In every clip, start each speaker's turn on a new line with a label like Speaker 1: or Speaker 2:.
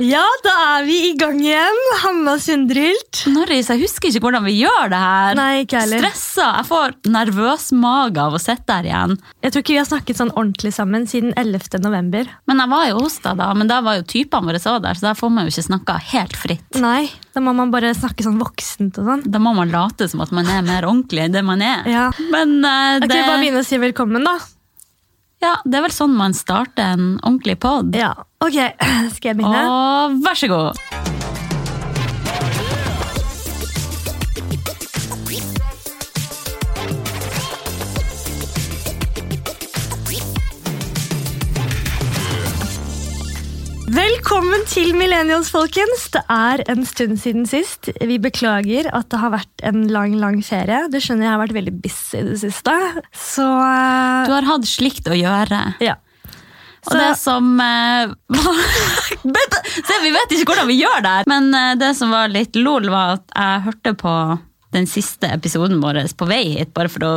Speaker 1: Ja, da er vi i gang igjen. Hanna Sundrylt.
Speaker 2: Norris, jeg husker ikke hvordan vi gjør det her.
Speaker 1: Nei, ikke heller.
Speaker 2: Stressa. Jeg får nervøs mage av å sitte her igjen.
Speaker 1: Jeg tror ikke vi har snakket sånn ordentlig sammen siden 11. november.
Speaker 2: Men jeg var jo hos deg da, men da var jo typene våre også der, så der får man jo ikke snakka helt fritt.
Speaker 1: Nei, da må man bare snakke sånn voksent og sånn.
Speaker 2: Da må man late som at man er mer ordentlig enn det man er.
Speaker 1: Ja.
Speaker 2: Men eh,
Speaker 1: Da kan
Speaker 2: det,
Speaker 1: vi bare begynne å si velkommen, da.
Speaker 2: ja, det er vel sånn man starter en ordentlig pod.
Speaker 1: Ja. Ok, skal jeg begynne?
Speaker 2: Og vær så god.
Speaker 1: Velkommen til Millennials, folkens. Det er en stund siden sist. Vi beklager at det har vært en lang, lang ferie. Du skjønner, jeg har vært veldig busy i det siste. Så eh,
Speaker 2: Du har hatt slikt å gjøre.
Speaker 1: ja.
Speaker 2: Og det som eh, var Vent, Se, vi vet ikke hvordan vi gjør det her! Men eh, det som var litt lol, var at jeg hørte på den siste episoden vår på vei hit, bare for å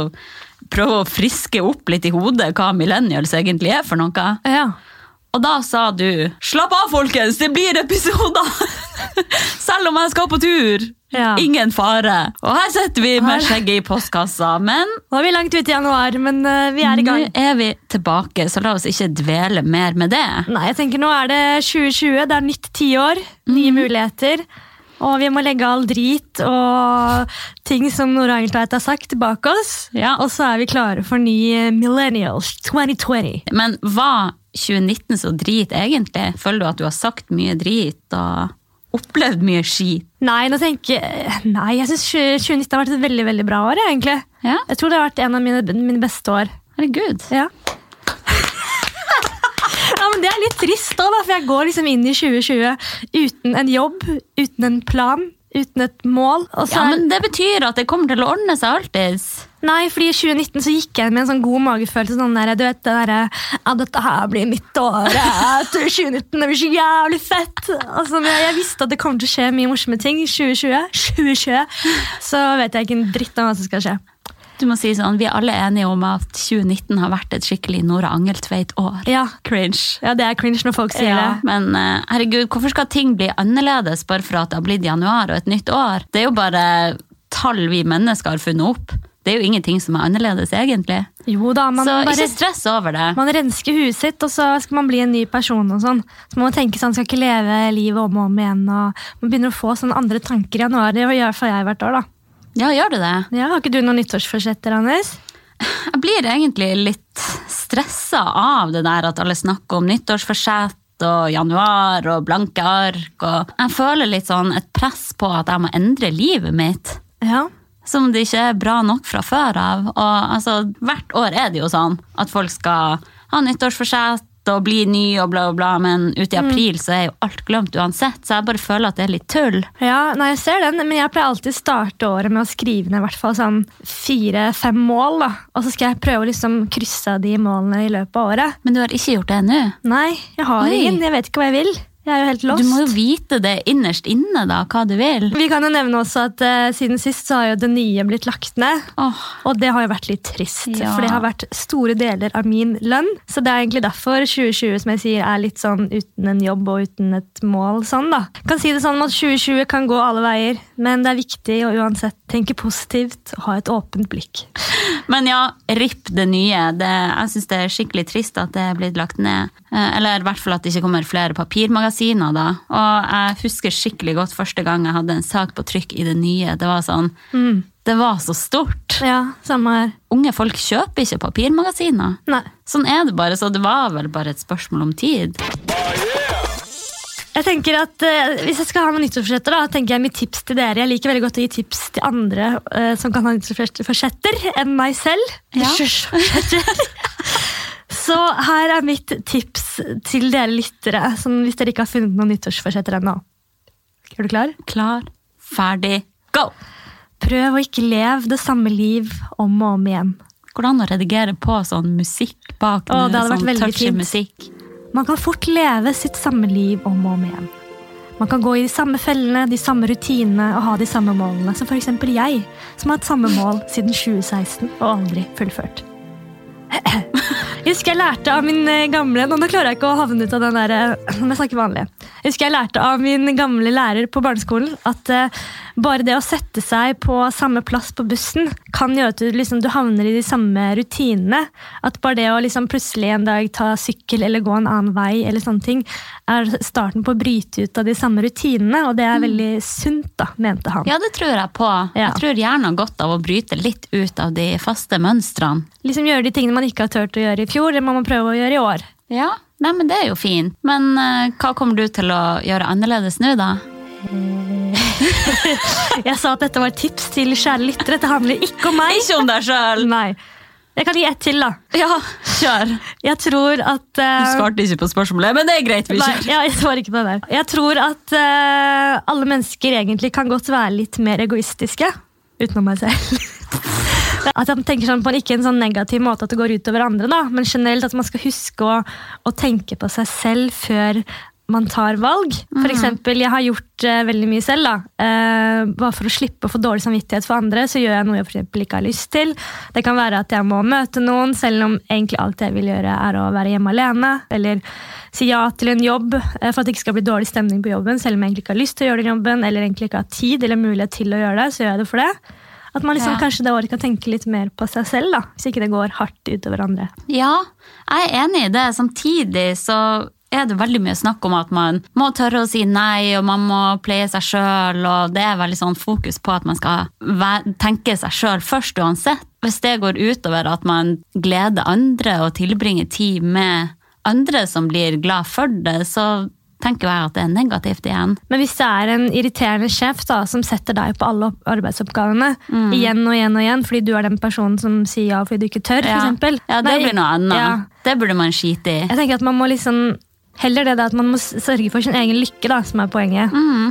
Speaker 2: prøve å friske opp litt i hodet hva millennials egentlig er for noe.
Speaker 1: ja.
Speaker 2: Og da sa du 'slapp av, folkens, det blir episoder'! Selv om jeg skal på tur!
Speaker 1: Ja.
Speaker 2: Ingen fare! Og her sitter vi med skjegget i postkassa, men
Speaker 1: Nå er vi langt ute i januar, men eh, vi er i gang.
Speaker 2: nå er vi tilbake, så la oss ikke dvele mer med det.
Speaker 1: Nei, jeg tenker nå er det 2020, det er nytt tiår, nye
Speaker 2: Mhm.
Speaker 1: muligheter. Og vi må legge all drit og ting som Nora Engeltveit har sagt, bak oss.
Speaker 2: Ja.
Speaker 1: Og så er vi klare for ny eh, Millennials 2020.
Speaker 2: Men var 2019 så drit egentlig? Føler du at du har sagt mye drit og opplevd mye skit?
Speaker 1: Nei, nå tenker jeg Nei, jeg syns 2019 har vært et veldig veldig bra år, jeg, egentlig.
Speaker 2: Ja,
Speaker 1: Jeg tror det har vært en av mine, mine beste år.
Speaker 2: herregud.
Speaker 1: Ja. ja, men Det er litt trist, da, da, for jeg går liksom inn i 2020 uten en jobb, uten en plan, uten et mål. Og så
Speaker 2: Ja,
Speaker 1: er-
Speaker 2: men det betyr at det kommer til å ordne seg alltids.
Speaker 1: Nei, fordi i 2019 så gikk jeg med en sånn god magefølelse. Sånn der, du vet, det derre Ja, dette her blir mitt år. jeg tror 2019 det blir så jævlig fett. Altså, men jeg, jeg visste at det kommer til å skje mye morsomme ting. i 2020, 2020, så vet jeg ikke en dritt om hva som skal skje.
Speaker 2: Du må si sånn, Vi er alle enige om at 2019 har vært et skikkelig Nora Angeltveit-år.
Speaker 1: Ja,
Speaker 2: Cringe.
Speaker 1: ja det er cringe når folk sier
Speaker 2: Ja,
Speaker 1: det.
Speaker 2: men eh, herregud, hvorfor skal ting bli annerledes bare for at det har blitt januar og et nytt år? Det er jo bare tall vi mennesker har funnet opp. Det er jo ingenting som er annerledes, egentlig.
Speaker 1: Jo da, man,
Speaker 2: Så
Speaker 1: bare,
Speaker 2: ikke stress over det.
Speaker 1: man rensker huet sitt, og så skal man bli en ny person. og sånn. Så man må tenke sånn, skal ikke leve livet om og om igjen. og Man begynner å få sånne andre tanker i januar. Det gjør i hvert fall jeg hvert år. da.
Speaker 2: Ja, gjør du det?
Speaker 1: Ja, Har ikke du noen nyttårsforsetter, Anders?
Speaker 2: Jeg blir egentlig litt stressa av det der at alle snakker om nyttårsforsett og januar og blanke ark. Og jeg føler litt sånn et press på at jeg må endre livet mitt.
Speaker 1: Ja.
Speaker 2: Som det ikke er bra nok fra før av. Og altså, hvert år er det jo sånn at folk skal ha nyttårsforsett og bli ny og bla, bla, bla, men ute i april så er jo alt glemt uansett. Så jeg bare føler at det er litt tull.
Speaker 1: Ja, nei, jeg ser den, men jeg pleier alltid å starte året med å skrive ned i hvert fall sånn fire-fem mål. da. Og så skal jeg prøve å liksom krysse av de målene i løpet av året.
Speaker 2: Men du har ikke gjort det ennå.
Speaker 1: Nei, jeg har
Speaker 2: Oi.
Speaker 1: ingen. Jeg vet ikke hva jeg vil. Jeg er jo helt
Speaker 2: Du
Speaker 1: lost.
Speaker 2: må jo vite det innerst inne, da, hva du vil.
Speaker 1: Vi kan jo nevne også at eh, siden sist så har jo det nye blitt lagt ned.
Speaker 2: Åh,
Speaker 1: Og det har jo vært litt trist,
Speaker 2: Ja.
Speaker 1: for det har vært store deler av min lønn. Så det er egentlig derfor 2020 som jeg sier, er litt sånn uten en jobb og uten et mål. sånn da. Kan si det sånn at 2020 kan gå alle veier, men det er viktig å uansett tenke positivt og ha et åpent blikk.
Speaker 2: Men ja, RIP det nye. Det, jeg syns det er skikkelig trist at det er blitt lagt ned. Eh, Eller i hvert fall at det ikke kommer flere papirmagasiner, da. Og jeg husker skikkelig godt første gang jeg hadde en sak på trykk i det nye. Det var sånn
Speaker 1: Mm.
Speaker 2: Det var så stort!
Speaker 1: Ja, samme her.
Speaker 2: Unge folk kjøper ikke papirmagasiner.
Speaker 1: Nei.
Speaker 2: Sånn er det bare, så det var vel bare et spørsmål om tid.
Speaker 1: Jeg tenker at eh, Hvis jeg skal ha noen nyttårsforsetter, da, tenker jeg mitt tips til dere. Jeg liker veldig godt å gi tips til andre eh, som kan ha nyttårsforsetter enn meg selv.
Speaker 2: Ja.
Speaker 1: Nyttårsforsetter. Så her er mitt tips til dere lyttere, som hvis dere ikke har funnet noen nyttårsforsetter ennå. Er du klar?
Speaker 2: Klar, ferdig, go!
Speaker 1: Prøv å ikke leve det samme liv om og om igjen.
Speaker 2: Hvordan å redigere på sånn musikk bak
Speaker 1: Å, det hadde
Speaker 2: nå,
Speaker 1: vært
Speaker 2: sånn
Speaker 1: veldig
Speaker 2: touchy
Speaker 1: fint.
Speaker 2: musikk?
Speaker 1: Man kan fort leve sitt samme liv om og om igjen. Man kan gå i de samme fellene, de samme rutinene og ha de samme målene, som f.eks. jeg, som har hatt samme mål siden 2016 og aldri fullført. Jeg husker jeg lærte av min eh, gamle Nå nå klarer jeg ikke å havne ut av den der eh, Nå må jeg snakke vanlig. Jeg husker jeg lærte av min gamle lærer på barneskolen at eh, bare det å sette seg på samme plass på bussen kan gjøre at du, liksom, du havner i de samme rutinene. At bare det å liksom, plutselig en dag ta sykkel eller gå en annen vei eller sånne ting, er starten på å bryte ut av de samme rutinene, og det er veldig sunt, da, mente han.
Speaker 2: Ja, det tror jeg på. Jeg tror hjernen har godt av å bryte litt ut av de faste mønstrene.
Speaker 1: Liksom Gjøre de tingene man ikke har turt å gjøre i fjor, det må man prøve å gjøre i år.
Speaker 2: Ja, Nei, men det er jo fint. Men eh, hva kommer du til å gjøre annerledes nå, da?
Speaker 1: Jeg sa at dette var et tips til kjære lyttere. Det handler ikke om meg.
Speaker 2: Ikke om deg sjøl!
Speaker 1: Nei. Jeg kan gi ett til, da.
Speaker 2: Ja, kjør.
Speaker 1: Jeg tror at eh,
Speaker 2: Du svarte ikke på spørsmålet, men det er greit. vi
Speaker 1: Nei,
Speaker 2: kjører.
Speaker 1: ja, jeg svarer ikke på det der. Jeg tror at eh, alle mennesker egentlig kan godt være litt mer egoistiske. Utenom meg selv. At man tenker sånn på en, ikke en sånn negativ måte at det går ut over andre, da, men generelt at man skal huske å, å tenke på seg selv før man tar valg. For eksempel, jeg har gjort eh, veldig mye selv. da. Eh, bare for å slippe å få dårlig samvittighet for andre, så gjør jeg noe jeg for eksempel ikke har lyst til. Det kan være at jeg må møte noen, selv om egentlig alt jeg vil gjøre er å være hjemme alene. Eller si ja til en jobb eh, for at det ikke skal bli dårlig stemning på jobben, selv om jeg egentlig ikke har lyst til å gjøre den jobben, eller egentlig ikke har tid eller mulighet til å gjøre det, så gjør jeg det for det. At man liksom
Speaker 2: Ja.
Speaker 1: kanskje det året kan tenke litt mer på seg selv, da, hvis ikke det går hardt utover andre.
Speaker 2: Ja, jeg er enig i det. Samtidig så er det veldig mye snakk om at man må tørre å si nei, og man må pleie seg sjøl, og det er veldig sånn fokus på at man skal væ- tenke seg sjøl først uansett. Hvis det går utover at man gleder andre og tilbringer tid med andre som blir glad for det, så tenker jeg at det er negativt igjen.
Speaker 1: Men hvis det er en irriterende sjef da, som setter deg på alle opp- arbeidsoppgavene
Speaker 2: Mm.
Speaker 1: igjen og igjen og igjen, fordi du er den personen som sier ja fordi du ikke tør, for
Speaker 2: Ja,
Speaker 1: eksempel.
Speaker 2: ja det
Speaker 1: Nei,
Speaker 2: blir noe annet.
Speaker 1: Ja.
Speaker 2: Det burde man skite i.
Speaker 1: Jeg tenker at man må liksom Heller det da, at man må s- sørge for sin egen lykke, da, som er poenget.
Speaker 2: Mm.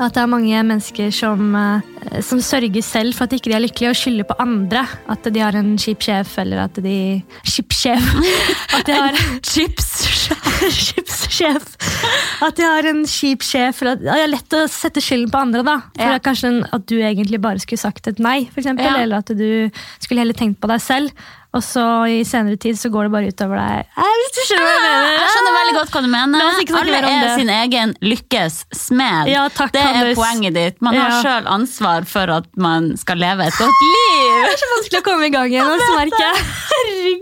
Speaker 1: At det er mange mennesker som, eh, som sørger selv for at ikke de er lykkelige, og skylder på andre. At de har en kjip sjef, eller at de Kjip sjef! At de har
Speaker 2: Chips!
Speaker 1: skipssjef. At jeg har en kjip sjef. Eller at ja, det er lett å sette skylden på andre. da. For
Speaker 2: Ja.
Speaker 1: det er Kanskje en- at du egentlig bare skulle sagt et nei, for eksempel,
Speaker 2: Ja.
Speaker 1: eller at du skulle heller tenkt på deg selv. Og så i senere tid så går det bare utover deg. Eh, Hvis du skjønner hva jeg mener.
Speaker 2: Ah, Jeg skjønner veldig godt hva du mener.
Speaker 1: La oss ikke snakke
Speaker 2: Alle
Speaker 1: mer om
Speaker 2: er
Speaker 1: det.
Speaker 2: sin egen lykkes smed.
Speaker 1: Ja, takk,
Speaker 2: det er
Speaker 1: Anders.
Speaker 2: poenget ditt. Man har
Speaker 1: Ja.
Speaker 2: sjøl ansvar for at man skal leve et godt liv.
Speaker 1: Det er så vanskelig å komme i gang igjen. altså, merker jeg. Herregud.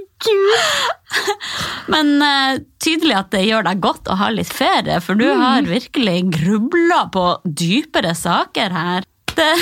Speaker 2: Men eh, tydelig at det gjør deg godt å ha litt ferie, for du
Speaker 1: Mm.
Speaker 2: har virkelig grubla på dypere saker her. Det,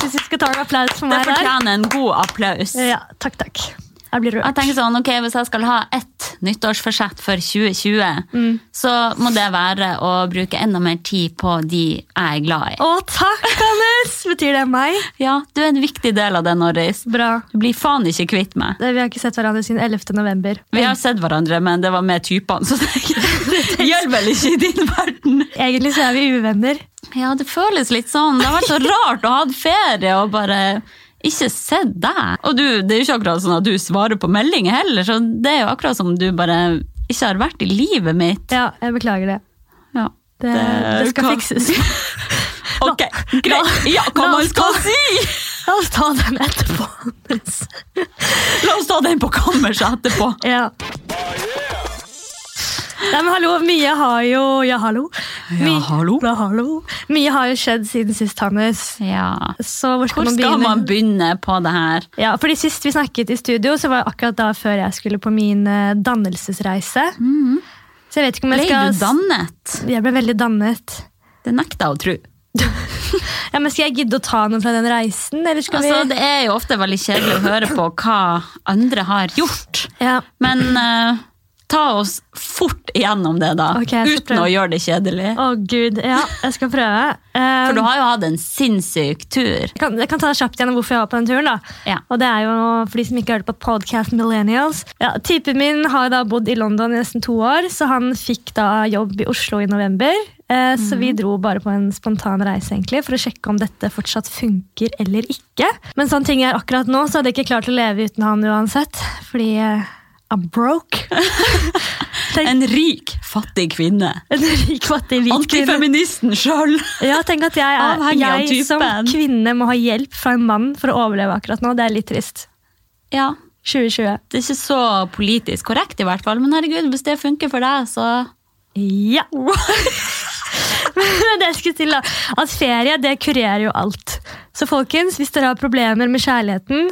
Speaker 1: Syns vi skal ta en applaus for
Speaker 2: det
Speaker 1: meg der.
Speaker 2: fortjener en god applaus.
Speaker 1: Ja, takk, takk. Jeg blir
Speaker 2: Jeg
Speaker 1: rørt.
Speaker 2: tenker sånn, ok, Hvis jeg skal ha ett nyttårsforsett for 2020,
Speaker 1: Mm.
Speaker 2: så må det være å bruke enda mer tid på de jeg er glad i.
Speaker 1: Å, takk, Anders! Betyr det meg?
Speaker 2: Ja, du er en viktig del av det, Norris.
Speaker 1: Bra.
Speaker 2: Du blir faen ikke kvitt meg.
Speaker 1: Det- Eh, Vi har ikke sett hverandre siden 11. november.
Speaker 2: Vi har sett hverandre, men det var med typene, så det gjelder vel ikke i din verden.
Speaker 1: Egentlig så er vi uvenner.
Speaker 2: Ja, det føles litt sånn. Det har vært så rart å ha hatt ferie og bare ikke sett deg. Og du, det er jo ikke akkurat sånn at du svarer på meldinger heller, så det er jo akkurat som du bare ikke har vært i livet mitt.
Speaker 1: Ja, jeg beklager det.
Speaker 2: Ja.
Speaker 1: Det,
Speaker 2: Det-
Speaker 1: det skal
Speaker 2: hva-
Speaker 1: fikses.
Speaker 2: Ok, greit. Ja, hva
Speaker 1: La
Speaker 2: man
Speaker 1: oss
Speaker 2: skal si!
Speaker 1: La oss ta den etterpå. Anders.
Speaker 2: La oss ta den på kammerset etterpå.
Speaker 1: Ja. Nei, men hallo, mye har jo Ja, hallo.
Speaker 2: Ja, hallo.
Speaker 1: Ja, hallo. Mye har jo skjedd siden sist, Hannes.
Speaker 2: Ja.
Speaker 1: Så hvor skal
Speaker 2: Hvor
Speaker 1: man
Speaker 2: skal
Speaker 1: begynne?
Speaker 2: man begynne på det her?
Speaker 1: Ja, fordi Sist vi snakket i studio, så var det akkurat da før jeg skulle på min eh, dannelsesreise. Så jeg vet ikke om
Speaker 2: Mhm. Ble
Speaker 1: jeg skal
Speaker 2: du dannet?
Speaker 1: Jeg ble veldig dannet.
Speaker 2: Det nekter jeg å tro.
Speaker 1: Ja, men Skal jeg gidde å ta noe fra den reisen, eller skal
Speaker 2: Altså,
Speaker 1: vi
Speaker 2: det er jo ofte veldig kjedelig å høre på hva andre har gjort.
Speaker 1: ja.
Speaker 2: Men eh, ta oss fort igjennom det, da.
Speaker 1: Ok, jeg skal
Speaker 2: Uten å
Speaker 1: prøve.
Speaker 2: gjøre det kjedelig.
Speaker 1: Å, gud. Ja, jeg skal prøve. Um,
Speaker 2: For du har jo hatt en sinnssyk tur.
Speaker 1: Jeg kan, jeg kan ta det kjapt gjennom hvorfor jeg var på den turen. da.
Speaker 2: Ja.
Speaker 1: Og det er jo for de som ikke hørte på podcast Millennials. Ja, typen min har da bodd i London i nesten to år, så han fikk da jobb i Oslo i november. Eh, Så vi dro bare på en spontan reise egentlig, for å sjekke om dette fortsatt funker eller ikke. Men sånn ting er akkurat nå, så hadde jeg ikke klart å leve uten han uansett. Fordi eh, I'm broke. Tenk-
Speaker 2: En rik, fattig kvinne.
Speaker 1: En rik, fattig, hvit kvinne.
Speaker 2: Antifeministen sjøl!
Speaker 1: Ja, tenk at jeg, er,
Speaker 2: Avhengig av
Speaker 1: jeg som
Speaker 2: typen.
Speaker 1: kvinne må ha hjelp fra en mann for å overleve akkurat nå. Det er litt trist.
Speaker 2: Ja,
Speaker 1: 2020.
Speaker 2: det er ikke så politisk korrekt, i hvert fall. Men herregud, hvis det funker for deg, så
Speaker 1: Ja. jeg skulle til da, at ferie det kurerer jo alt. Så folkens, hvis dere har problemer med kjærligheten,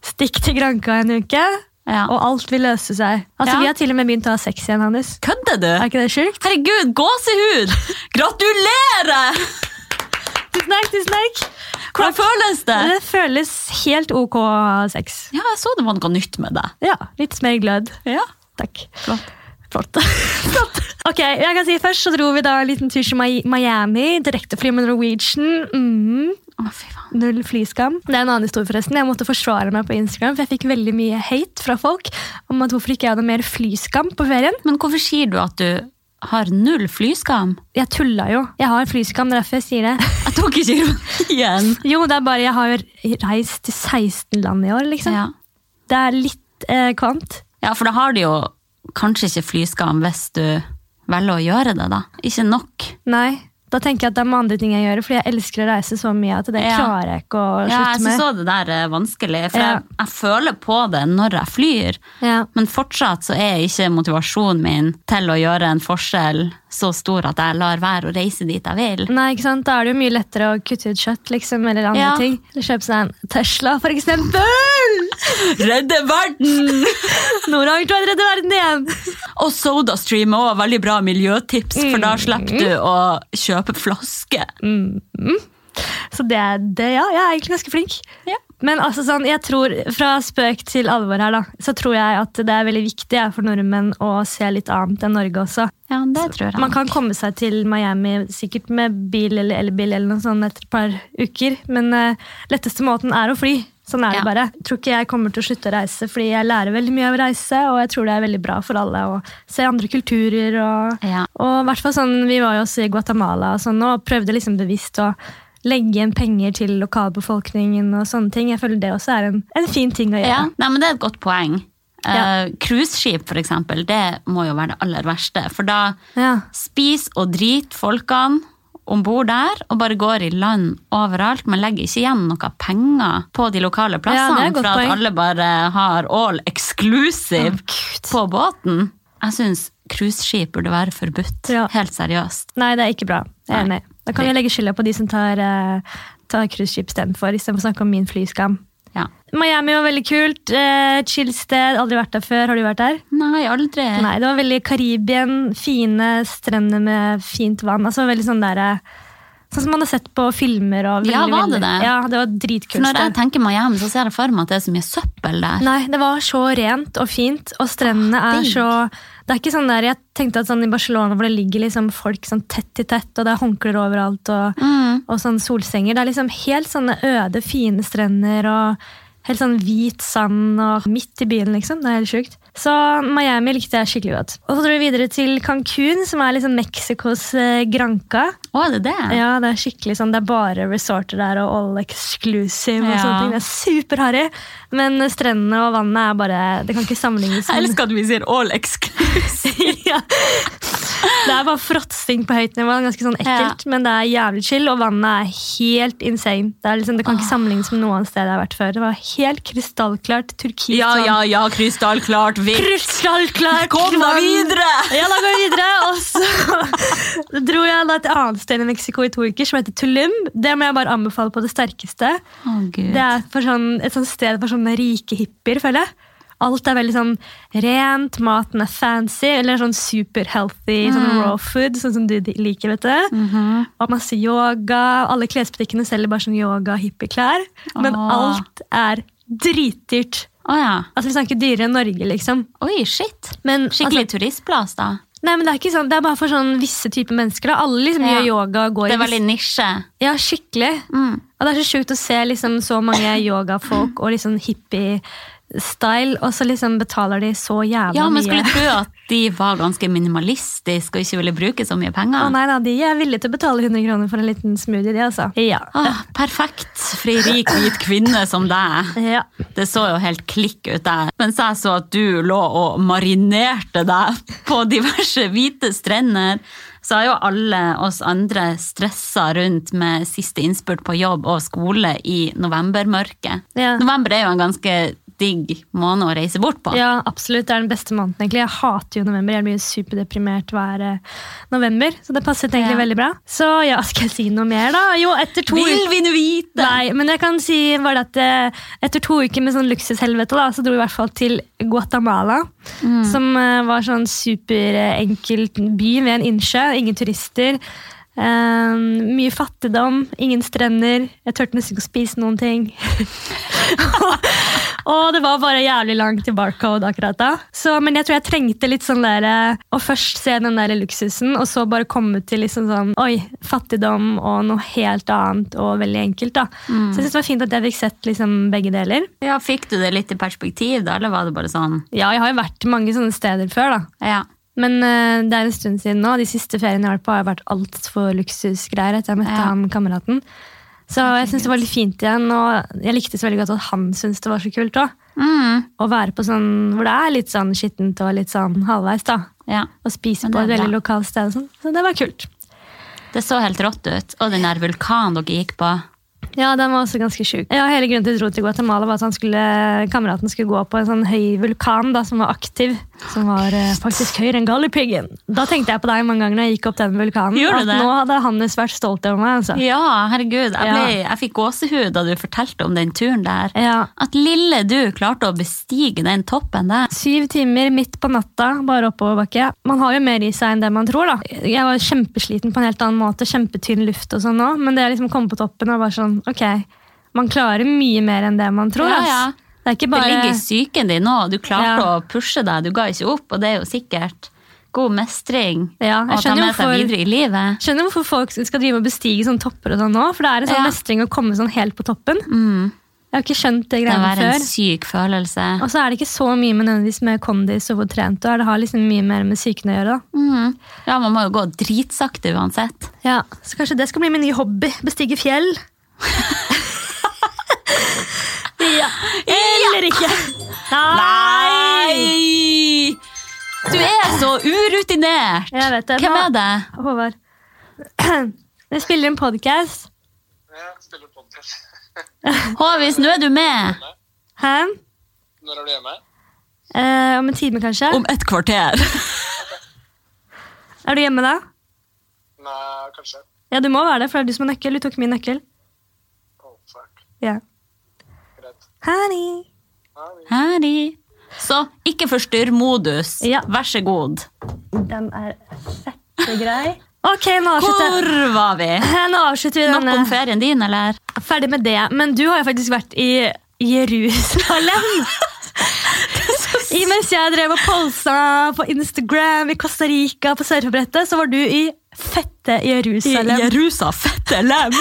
Speaker 1: stikk til Granka en uke,
Speaker 2: Ja.
Speaker 1: og alt vil løse seg. Altså,
Speaker 2: Ja.
Speaker 1: Vi har til og med begynt å ha sex igjen, Hannes.
Speaker 2: Kødder du?
Speaker 1: Er ikke det sjukt?
Speaker 2: Herregud, gåsehud! Gratulerer!
Speaker 1: Tusen takk, tusen takk.
Speaker 2: Hvordan føles det?
Speaker 1: Det føles helt ok sex.
Speaker 2: Ja, jeg så det var noe nytt med deg.
Speaker 1: Ja, litt mer glød.
Speaker 2: Ja.
Speaker 1: Takk.
Speaker 2: Flott.
Speaker 1: Flott. Flott. Ok, jeg kan si Først så dro vi da en liten tur til Mi- Miami. Direktefly med Norwegian. Mm,
Speaker 2: Å, fy faen.
Speaker 1: null flyskam. Det er en annen historie, forresten. Jeg måtte forsvare meg på Instagram, for jeg fikk veldig mye hate fra folk om at hvorfor ikke jeg hadde mer flyskam på ferien.
Speaker 2: Men hvorfor sier du at du har null flyskam?
Speaker 1: Jeg tulla jo. Jeg har flyskam, det er derfor jeg sier det.
Speaker 2: Jeg tok ikke ironien.
Speaker 1: Jo, det er bare jeg har jo reist til 16 land i år, liksom.
Speaker 2: Ja.
Speaker 1: Det er litt eh, kvant.
Speaker 2: ja, for da har du jo kanskje ikke flyskam hvis du velger å gjøre det, da. Ikke nok.
Speaker 1: Nei. Da tenker jeg at det er med andre ting jeg gjør, fordi jeg elsker å reise så mye at det
Speaker 2: Ja.
Speaker 1: klarer jeg ikke å
Speaker 2: Ja, jeg
Speaker 1: slutte
Speaker 2: syns
Speaker 1: med.
Speaker 2: også det der er vanskelig, for
Speaker 1: Ja.
Speaker 2: jeg, jeg føler på det når jeg flyr.
Speaker 1: Ja.
Speaker 2: Men fortsatt så er ikke motivasjonen min til å gjøre en forskjell så stor at jeg lar være å reise dit jeg vil.
Speaker 1: Nei, ikke sant? Da er det jo mye lettere å kutte ut kjøtt, liksom, eller andre
Speaker 2: Ja.
Speaker 1: ting. Eller Kjøpe seg en Tesla, for eksempel!
Speaker 2: Redde verden!
Speaker 1: Nora har ikke vært redd i verden igjen!
Speaker 2: Og SodaStream er også veldig bra miljøtips, for da
Speaker 1: Mm.
Speaker 2: slipper du å kjøpe flaske.
Speaker 1: Så det, er- det ja, jeg er egentlig ganske flink.
Speaker 2: Ja.
Speaker 1: Men altså sånn, jeg tror, fra spøk til alvor her, da, så tror jeg at det er veldig viktig ja, for nordmenn å se litt annet enn Norge også.
Speaker 2: Ja, det tror
Speaker 1: Man
Speaker 2: jeg.
Speaker 1: kan komme seg til Miami sikkert med bil eller elbil eller noe sånt etter et par uker, men eh, letteste måten er å fly. Sånn er det
Speaker 2: Ja.
Speaker 1: bare. Jeg tror ikke jeg kommer til å slutte å reise, fordi jeg lærer veldig mye av å reise, og jeg tror det er veldig bra for alle å se andre kulturer. Og,
Speaker 2: Ja.
Speaker 1: og i hvert fall sånn, Vi var jo også i Guatemala og sånn, og prøvde liksom bevisst å legge igjen penger til lokalbefolkningen og sånne ting. Jeg føler det også er en, en fin ting å gjøre.
Speaker 2: Ja. Nei, men det er et godt poeng.
Speaker 1: Ja.
Speaker 2: Eh, Cruiseskip, for eksempel, det må jo være det aller verste. For da
Speaker 1: Ja.
Speaker 2: spis og drit folkene om bord der, og bare går i land overalt. Man legger ikke igjen noe penger på de lokale
Speaker 1: Ja,
Speaker 2: plassene,
Speaker 1: det er et godt
Speaker 2: for at
Speaker 1: poeng.
Speaker 2: alle bare har all exclusive
Speaker 1: Gud.
Speaker 2: på båten. Jeg syns cruiseskip burde være forbudt.
Speaker 1: Ja.
Speaker 2: Helt seriøst.
Speaker 1: Nei, det er ikke bra. Jeg er
Speaker 2: Nei.
Speaker 1: enig. Da kan vi legge skylda på de som tar, uh, tar cruiseskip istedenfor, istedenfor å snakke om min flyskam.
Speaker 2: Ja.
Speaker 1: Miami var veldig kult. eh, chill sted. Aldri vært der før. Har du vært der?
Speaker 2: Nei, aldri.
Speaker 1: Nei, det var veldig Karibien. Fine strender med fint vann. Altså veldig sånn der, eh, Sånn som man har sett på filmer. Og veldig,
Speaker 2: Ja, var
Speaker 1: veldig-
Speaker 2: det det?
Speaker 1: Ja, det var
Speaker 2: For
Speaker 1: dritkult.
Speaker 2: når jeg
Speaker 1: sted.
Speaker 2: tenker Miami, så ser jeg for meg at det er så mye søppel der.
Speaker 1: Nei, det var så rent og fint, og strendene
Speaker 2: Ah,
Speaker 1: er
Speaker 2: digg.
Speaker 1: så Det er ikke sånn der, Jeg tenkte at sånn i Barcelona hvor det ligger liksom folk sånn tett i tett, og det er håndklær overalt. og...
Speaker 2: Mm.
Speaker 1: og sånn solsenger. Det er liksom helt sånne øde, fine strender og helt sånn hvit sand og midt i byen, liksom. Det er helt sjukt. Så Miami likte jeg skikkelig godt. Og så dro vi videre til Cancún, som er liksom Mexicos eh, Granca.
Speaker 2: Å, er det det?
Speaker 1: Ja, det er skikkelig sånn, det er bare resorter der og all exclusive og
Speaker 2: Ja.
Speaker 1: sånne ting. Det er superharry, men strendene og vannet er bare Det kan ikke sammenlignes
Speaker 2: Jeg
Speaker 1: med
Speaker 2: elsker at vi sier all exclusive.
Speaker 1: Sånn. ja. Det er bare fråtsing på høyt nivå. Ganske sånn ekkelt, men det er jævlig chill, og vannet er helt insane. Det, er liksom, det kan ikke sammenlignes med noe annet sted jeg har vært før. Det var helt krystallklart turkis.
Speaker 2: Ja,
Speaker 1: vann.
Speaker 2: ja, ja, krystallklart. Vi
Speaker 1: Krystallklart
Speaker 2: kom da
Speaker 1: vann.
Speaker 2: videre!
Speaker 1: Ja, da går vi videre. Og så dro jeg da et annet sted i Mexico i to uker, som heter Tulum. Det må jeg bare anbefale på det sterkeste.
Speaker 2: Å, Gud.
Speaker 1: Det er for sånn, et sånt sted for sånne rike hippier, føler jeg. Alt er veldig sånn rent, maten er fancy, eller sånn super healthy sånn
Speaker 2: Mm.
Speaker 1: raw food, sånn som du di- liker, vet du.
Speaker 2: Mhm.
Speaker 1: Og masse yoga. Alle klesbutikkene selger bare sånn yoga- og hippieklær. Men
Speaker 2: Åh.
Speaker 1: alt er dritdyrt.
Speaker 2: Å ja.
Speaker 1: Altså, vi snakker dyrere enn Norge, liksom.
Speaker 2: Oi, shit.
Speaker 1: Men,
Speaker 2: Skikkelig
Speaker 1: altså,
Speaker 2: turistplass, da.
Speaker 1: nei, men det er ikke sånn, det er bare for sånn visse typer mennesker. Da. Alle liksom
Speaker 2: Ja.
Speaker 1: gjør yoga og går i
Speaker 2: Det er veldig nisje.
Speaker 1: Ja, skikkelig.
Speaker 2: Mm.
Speaker 1: Og det er så sjukt å se liksom, så mange yogafolk og liksom hippie-style, og så liksom betaler de så jævla
Speaker 2: Ja, men skulle
Speaker 1: mye.
Speaker 2: tro at de var ganske minimalistiske og ikke ville bruke så mye
Speaker 1: Å
Speaker 2: penger.
Speaker 1: nei da, De er villige til å betale 100 kroner for en liten smoothie, de altså. Ja.
Speaker 2: Ah, perfekt for ei rik, hvit kvinne som deg.
Speaker 1: ja.
Speaker 2: Det så jo helt klikk ut der. Mens jeg så at du lå og marinerte deg på diverse hvite strender, så har jo alle oss andre stressa rundt med siste innspurt på jobb og skole i novembermørket.
Speaker 1: Ja.
Speaker 2: November er jo en ganske digg måned å reise bort på.
Speaker 1: Ja, absolutt. Det er den beste måneden, egentlig. Jeg hater jo november. Jeg blir jo superdeprimert hver eh, november, så det passet egentlig
Speaker 2: Ja.
Speaker 1: veldig bra. Så ja, skal jeg si noe mer, da? Jo, etter to
Speaker 2: Vil vi nå vite?
Speaker 1: Nei, men jeg kan si bare at eh, etter to uker med sånn luksushelvete, da, så dro vi i hvert fall til Guatemala. Som eh, var sånn superenkel by ved en innsjø. Ingen turister. eh, mye fattigdom, ingen strender. Jeg turte nesten ikke å spise noen ting. Og det var bare jævlig langt til barcode akkurat da. Så, men jeg tror jeg trengte litt sånn der eh, Å først se den der luksusen, og så bare komme til liksom sånn Oi, fattigdom og noe helt annet og veldig enkelt, da. Så jeg synes det var fint at jeg fikk sett liksom begge deler.
Speaker 2: Ja, Fikk du det litt i perspektiv, da, eller var det bare sånn?
Speaker 1: Ja, jeg har jo vært mange sånne steder før, da.
Speaker 2: Ja.
Speaker 1: Men eh, det er en stund siden nå. De siste feriene jeg har vært på, har vært altfor luksusgreier etter jeg møtte
Speaker 2: Ja.
Speaker 1: han kameraten. Så jeg syns det var litt fint igjen, og jeg likte så veldig godt at han syntes det var så kult òg.
Speaker 2: Mm.
Speaker 1: å være på sånn hvor det er litt sånn skittent og litt sånn halvveis, da.
Speaker 2: ja.
Speaker 1: Og spise
Speaker 2: Men
Speaker 1: på
Speaker 2: det er
Speaker 1: et veldig
Speaker 2: bra.
Speaker 1: lokalt sted og sånn. Så det var kult.
Speaker 2: Det så helt rått ut. Og den der vulkanen dere gikk på.
Speaker 1: Ja, den var også ganske sjuk. Ja, hele grunnen til at jeg dro til Guatemala var at han skulle, kameraten skulle gå på en sånn høy vulkan da, som var aktiv. Som var eh, faktisk høyere enn Galdhøpiggen. Da tenkte jeg på deg mange ganger når jeg gikk opp den vulkanen.
Speaker 2: Gjorde
Speaker 1: at
Speaker 2: du det?
Speaker 1: nå hadde Hannes vært stolt over meg, altså.
Speaker 2: Ja, herregud. Jeg, ble,
Speaker 1: Ja.
Speaker 2: jeg fikk gåsehud da du fortalte om den turen der.
Speaker 1: Ja.
Speaker 2: At lille du klarte å bestige den toppen der.
Speaker 1: Syv timer midt på natta, bare oppoverbakke. Man har jo mer i seg enn det man tror. da. Jeg var kjempesliten på en helt annen måte, kjempetynn luft og sånn nå, men det å liksom komme på toppen og bare sånn, ok, man klarer mye mer enn det man tror.
Speaker 2: Ja,
Speaker 1: ass.
Speaker 2: ja.
Speaker 1: Det er ikke
Speaker 2: Det
Speaker 1: bare...
Speaker 2: ligger i psyken din nå. Du klarte
Speaker 1: Ja.
Speaker 2: å pushe deg. Du ga ikke opp, og det er jo sikkert god mestring
Speaker 1: Ja, jeg
Speaker 2: å ta
Speaker 1: skjønner
Speaker 2: med seg
Speaker 1: hvorfor-
Speaker 2: videre i livet.
Speaker 1: Skjønner hvorfor folk skal drive og bestige sånne topper og sånn nå, for det er en sånn
Speaker 2: Ja.
Speaker 1: mestring å komme sånn helt på toppen.
Speaker 2: Mm.
Speaker 1: Jeg har ikke skjønt det
Speaker 2: Det må
Speaker 1: greiene
Speaker 2: være en
Speaker 1: før.
Speaker 2: syk følelse.
Speaker 1: Og så er det ikke så mye med nødvendigvis med kondis og hvor trent du er. Det har liksom mye mer med psyken å gjøre da.
Speaker 2: Mm. Ja, man må jo gå dritsakte uansett.
Speaker 1: Ja, så kanskje det skal bli min nye hobby. Bestige fjell. ja. Eller ikke.
Speaker 2: Nei! Du er så urutinert!
Speaker 1: Jeg vet det.
Speaker 2: Hvem
Speaker 1: Nå-
Speaker 2: er det?
Speaker 1: Håvard. Jeg spiller en podcast.
Speaker 3: Jeg spiller podcast.
Speaker 2: Håvis, nå er du med.
Speaker 1: Hæ?
Speaker 3: Når er du hjemme?
Speaker 1: Eh, om en time, kanskje.
Speaker 2: et kvarter.
Speaker 1: Er du hjemme da?
Speaker 3: Nei, kanskje.
Speaker 1: Ja, du må være det, for det er du som har nøkkel. Du tok min nøkkel.
Speaker 3: Oh, fuck.
Speaker 1: Ja.
Speaker 3: Greit.
Speaker 1: Honey.
Speaker 3: Ja, vi-
Speaker 2: Harry. Så ikke forstyrr modus.
Speaker 1: Ja.
Speaker 2: Vær så god.
Speaker 1: Den er fette grei. Ok, nå avslutter,
Speaker 2: Hvor var vi?
Speaker 1: nå avslutter vi
Speaker 2: Nok om
Speaker 1: denne.
Speaker 2: ferien din, eller?
Speaker 1: Ferdig med det. Men du har jo faktisk vært i Jerusalem. I mens jeg drev og posa på Instagram i Costa Rica på surfebrettet, så var du i fette Jerusalem.
Speaker 2: Jerusa, fette lem.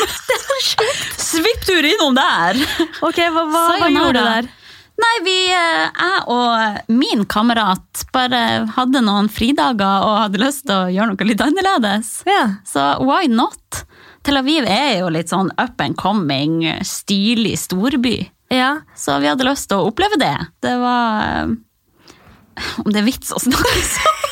Speaker 2: Svipptur innom der.
Speaker 1: Ok, Hva, hva, hva
Speaker 2: Sayonara.
Speaker 1: gjorde du der?
Speaker 2: Nei, vi, eh, jeg og min kamerat bare hadde noen fridager og hadde lyst til å gjøre noe litt annerledes.
Speaker 1: Ja.
Speaker 2: Så why not? Tel Aviv er jo litt sånn up and coming, stilig storby.
Speaker 1: ja.
Speaker 2: Så vi hadde lyst til å oppleve det. Det var eh, Om det er vits å snakke sånn?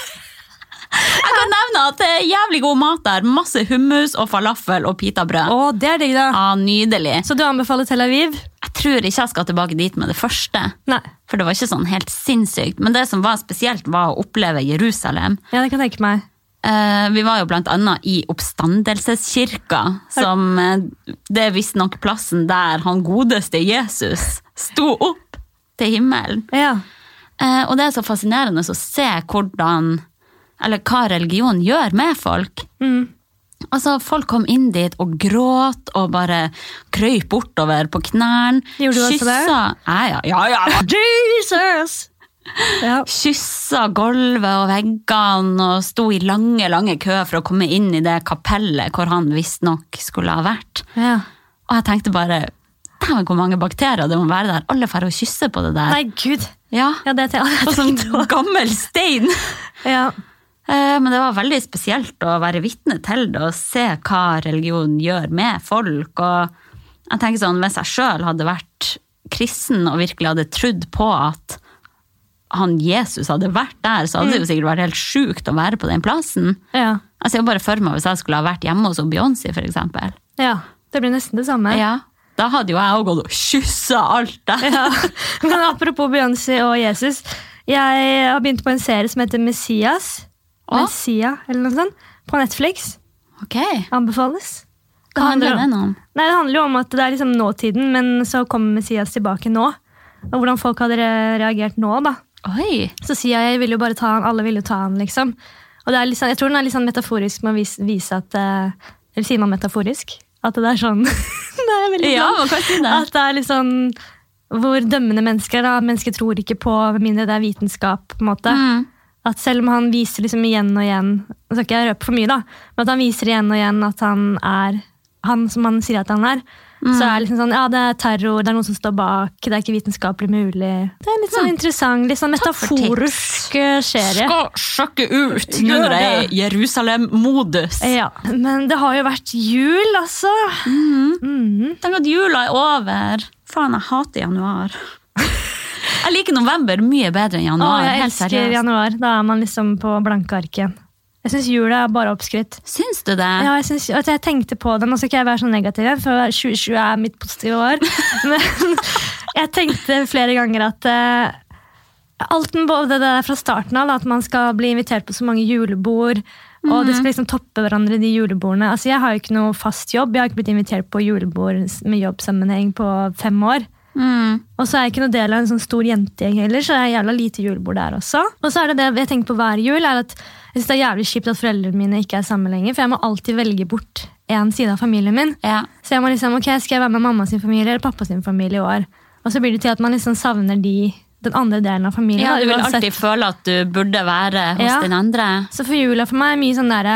Speaker 2: Jeg kan nevne at det er jævlig god mat der. Masse hummus og falafel og pitabrød.
Speaker 1: Å, det er digg, da.
Speaker 2: Ja, nydelig.
Speaker 1: Så du anbefaler Tel Aviv?
Speaker 2: Jeg tror ikke jeg skal tilbake dit med det første.
Speaker 1: Nei.
Speaker 2: For det var ikke sånn helt sinnssykt. Men det som var spesielt, var å oppleve Jerusalem.
Speaker 1: Ja, det kan jeg tenke meg.
Speaker 2: Eh, vi var jo blant annet i oppstandelseskirka, som eh, det er visstnok plassen der han godeste Jesus sto opp til himmelen.
Speaker 1: Ja.
Speaker 2: Eh, og det er så fascinerende å se hvordan, eller hva religion gjør med folk.
Speaker 1: Mm.
Speaker 2: Altså, folk kom inn dit og gråt og bare krøyp bortover på knærne.
Speaker 1: Gjorde du også det?
Speaker 2: kyssa- Ja, ja, ja, ja.
Speaker 1: Jesus! Ja.
Speaker 2: kyssa gulvet og veggene og sto i lange, lange kø for å komme inn i det kapellet hvor han visstnok skulle ha vært.
Speaker 1: ja.
Speaker 2: Og jeg tenkte bare Dæven, hvor mange bakterier det må være der. Alle drar og kysser på det der.
Speaker 1: Nei, gud.
Speaker 2: Ja,
Speaker 1: Ja, det har jeg
Speaker 2: På sånn
Speaker 1: tenkt på.
Speaker 2: gammel stein.
Speaker 1: Ja.
Speaker 2: Eh, Men det var veldig spesielt å være vitne til det og se hva religion gjør med folk. Og jeg tenker sånn, Hvis jeg sjøl hadde vært kristen og virkelig hadde trodd på at han Jesus hadde vært der, så hadde det jo
Speaker 1: Mm.
Speaker 2: sikkert vært helt sjukt å være på den plassen. Altså,
Speaker 1: ja.
Speaker 2: Jeg ser jo bare for meg hvis jeg skulle ha vært hjemme hos Beyoncé, f.eks.
Speaker 1: Ja. Det blir nesten det samme.
Speaker 2: Ja, Da hadde jo jeg òg gått og kyssa alt der.
Speaker 1: Ja. Men apropos Beyoncé og Jesus. Jeg har begynt på en serie som heter Messias.
Speaker 2: Å?
Speaker 1: Messia, eller noe sånt. På Netflix.
Speaker 2: Ok,
Speaker 1: Anbefales. Det
Speaker 2: Hva
Speaker 1: handler
Speaker 2: handler
Speaker 1: om-
Speaker 2: den om?
Speaker 1: Nei, Det handler jo om at det er liksom nåtiden, men så kommer Messias tilbake nå. Og hvordan folk hadde re- reagert nå, da.
Speaker 2: Oi!
Speaker 1: Så sier jeg, jeg vil jo bare ta han, alle vil jo ta han, liksom. Og det er litt sånn, jeg tror den er litt sånn metaforisk med å vise, vise at eh, Eller sier man metaforisk? At det er sånn Det er veldig
Speaker 2: Ja,
Speaker 1: bra.
Speaker 2: man kan si det.
Speaker 1: At det er litt sånn hvor dømmende mennesker da, mennesker tror ikke på, med mindre det er vitenskap. på en måte.
Speaker 2: Mm.
Speaker 1: At Selv om han viser liksom igjen og igjen Nå skal ikke jeg røpe for mye, da, men at han viser igjen og igjen at han er han som han sier at han er.
Speaker 2: Mm.
Speaker 1: Så er det liksom sånn, ja, det er terror, det er noen som står bak, det er ikke vitenskapelig mulig. Det er en litt sånn interessant, litt sånn
Speaker 2: Mm. Takk for tips.
Speaker 1: metaforisk eh, serie.
Speaker 2: Skal sjekke ut
Speaker 1: nå når jeg er i
Speaker 2: Jerusalem-modus.
Speaker 1: Ja, Men det har jo vært jul, altså.
Speaker 2: Mm.
Speaker 1: Mhm.
Speaker 2: Tenk at jula er over. Faen, jeg hater januar. Jeg liker november mye bedre enn
Speaker 1: Å,
Speaker 2: januar.
Speaker 1: jeg
Speaker 2: helt
Speaker 1: elsker
Speaker 2: seriøst.
Speaker 1: januar. Da er man liksom på blanke ark igjen. Jeg syns jula er bare oppskrytt.
Speaker 2: Syns du det?
Speaker 1: Ja, jeg, synes, at jeg tenkte på det, Nå skal ikke jeg være så negativ, igjen, for 2020 er mitt positive år. Men jeg tenkte flere ganger at eh, alt den- både det der fra starten av, da, at man skal bli invitert på så mange julebord, og det skal liksom toppe hverandre, de julebordene. Altså, Jeg har jo ikke noe fast jobb, jeg har ikke blitt invitert på julebord med jobbsammenheng på fem år.
Speaker 2: Mm.
Speaker 1: Og så er jeg ikke noe del av en sånn stor jentegjeng heller, så det er jævla lite julebord der også. Og så er det det jeg tenker på hver jul, er at jeg synes det er jævlig kjipt at foreldrene mine ikke er sammen lenger, for jeg må alltid velge bort en side av familien min.
Speaker 2: Ja.
Speaker 1: Så jeg må liksom, ok, skal jeg være med mamma sin familie eller pappa sin familie i år? Og så blir det til at man liksom savner de, den andre delen av familien.
Speaker 2: ja,
Speaker 1: da,
Speaker 2: du vil
Speaker 1: uansett.
Speaker 2: alltid føle at du burde være hos
Speaker 1: Ja.
Speaker 2: den andre.
Speaker 1: Så for jula for meg er mye sånn der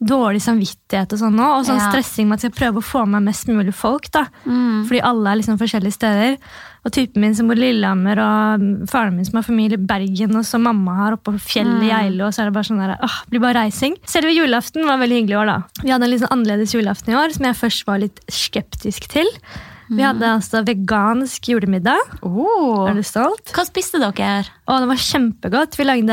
Speaker 1: dårlig samvittighet og sånn nå, og sånn
Speaker 2: Ja.
Speaker 1: stressing med at jeg prøver å få med mest mulig folk, da. Fordi alle er liksom forskjellige steder. Og typen min som bor i Lillehammer, og faren min som har familie i Bergen, og så mamma her oppe på fjellet i Geilo, og så er det bare sånn der, åh, blir bare reising. Selve julaften var veldig hyggelig i år, da. Vi hadde en litt sånn annerledes julaften i år, som jeg først var litt skeptisk til. Vi hadde altså vegansk julemiddag. Er du stolt?
Speaker 2: Oh. Hva spiste dere?
Speaker 1: Og det var kjempegodt. Vi lagde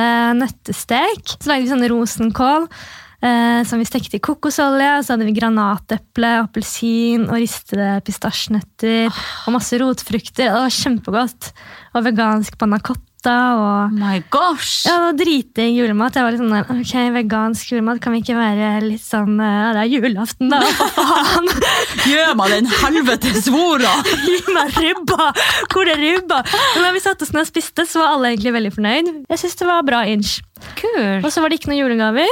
Speaker 1: nøttestek. Så lagde vi sånn rosenkål eh, som vi stekte i kokosolje. Og så hadde vi granateple, appelsin og ristede pistasjenøtter. Og masse rotfrukter. Det var kjempegodt. Og vegansk panna cotta. Og
Speaker 2: Oh My gosh!
Speaker 1: ja, det var driting julemat. Jeg var litt sånn der, ok, Vegansk julemat, kan vi ikke være litt sånn eh, Ja, det er julaften, da. Hva faen?
Speaker 2: Gjør meg den helvetes vora!
Speaker 1: Gi meg ribba! Hvor er ribba? Men da vi satte oss ned og spiste, så var alle egentlig veldig fornøyd. Jeg syns det var bra inch.
Speaker 2: Kult.
Speaker 1: Og så var det ikke noen julegaver.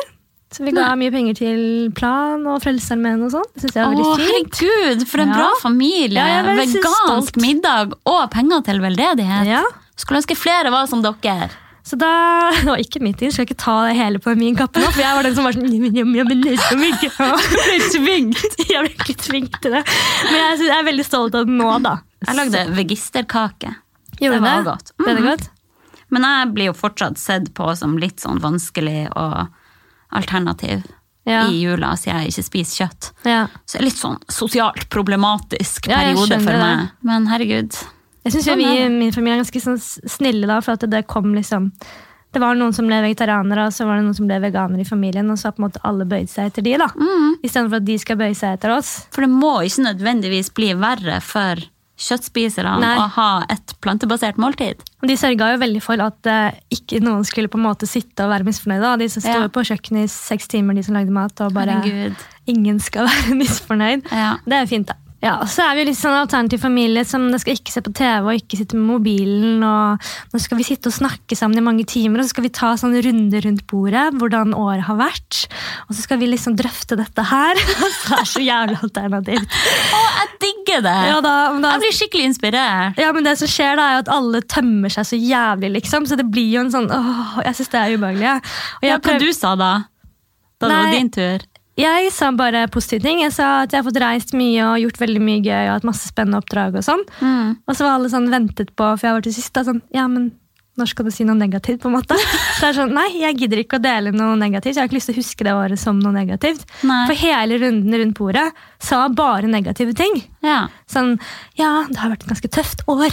Speaker 1: Så vi ga mye penger til Plan og Frelsesarmeen og sånn. Det synes jeg
Speaker 2: Å,
Speaker 1: var veldig fint.
Speaker 2: herregud, for en
Speaker 1: Ja.
Speaker 2: bra familie!
Speaker 1: Ja, jeg er veldig stolt.
Speaker 2: Vegansk middag og penger til veldedighet.
Speaker 1: Ja.
Speaker 2: Skulle ønske flere var som dere.
Speaker 1: Så da Det var ikke mitt inn, skal ikke ta det hele på min kappe nå, for jeg var den som var sånn «Njam, njam, njam, njam, njam, njam».
Speaker 2: Ble tvingt.
Speaker 1: Jeg ble ikke tvunget til det. Men jeg, synes, jeg er veldig stolt av det nå, da.
Speaker 2: Jeg lagde vegisterkake.
Speaker 1: Gjorde
Speaker 2: det var
Speaker 1: du
Speaker 2: godt.
Speaker 1: Ble det godt?
Speaker 2: Men jeg blir jo fortsatt sett på som litt sånn vanskelig og alternativ
Speaker 1: Ja.
Speaker 2: Mm-hmm. i jula, siden jeg ikke spiser kjøtt.
Speaker 1: Ja.
Speaker 2: Så det er litt sånn sosialt problematisk
Speaker 1: Ja, jeg
Speaker 2: periode
Speaker 1: skjønner
Speaker 2: for
Speaker 1: det.
Speaker 2: meg. Men herregud.
Speaker 1: Jeg syns
Speaker 2: Sånn
Speaker 1: vi
Speaker 2: er
Speaker 1: i
Speaker 2: det.
Speaker 1: min familie er ganske sånn snille, da, for at det kom liksom Det var noen som ble vegetarianere, og så var det noen som ble veganere i familien, og så har på en måte alle bøyd seg etter de, da.
Speaker 2: Mhm.
Speaker 1: Istedenfor at de skal bøye seg etter oss.
Speaker 2: For det må ikke nødvendigvis bli verre for kjøttspiserne
Speaker 1: Nei.
Speaker 2: å ha et plantebasert måltid.
Speaker 1: Og De sørga jo veldig for at eh, ikke noen skulle på en måte sitte og være misfornøyde. da. De som sto
Speaker 2: Ja.
Speaker 1: jo på kjøkkenet i seks timer, de som lagde mat. og bare
Speaker 2: Herregud.
Speaker 1: Ingen skal være misfornøyd.
Speaker 2: Ja.
Speaker 1: Det er jo fint, da. Ja, og Så er vi jo litt sånn alternativ familie som det skal ikke se på TV og ikke sitte med mobilen. og Nå skal vi sitte og snakke sammen i mange timer, og så skal vi ta sånne runder rundt bordet. Hvordan året har vært. Og så skal vi liksom drøfte dette her. det er så jævlig alternativt.
Speaker 2: Å, jeg digger det!
Speaker 1: Ja, da, men da
Speaker 2: Jeg blir skikkelig inspirert.
Speaker 1: ja, men det som skjer da er jo at alle tømmer seg så jævlig, liksom. Så det blir jo en sånn åh, jeg syns det er ubehagelig. Ja. Og
Speaker 2: Ja,
Speaker 1: jeg,
Speaker 2: hva
Speaker 1: prøv,
Speaker 2: du sa da? Da det
Speaker 1: Nei.
Speaker 2: var din tur?
Speaker 1: jeg sa bare positive ting. Jeg sa at jeg har fått reist mye og gjort veldig mye gøy og hatt masse spennende oppdrag og sånn. Og så var alle sånn ventet på, for jeg var til sist da, sånn ja, men når skal du si noe negativt, på en måte? Så det er sånn, nei, jeg gidder ikke å dele noe negativt. Jeg har ikke lyst til å huske det året som noe negativt.
Speaker 2: Nei.
Speaker 1: For hele runden rundt bordet sa bare negative ting.
Speaker 2: Ja.
Speaker 1: Sånn, ja, det har vært et ganske tøft år,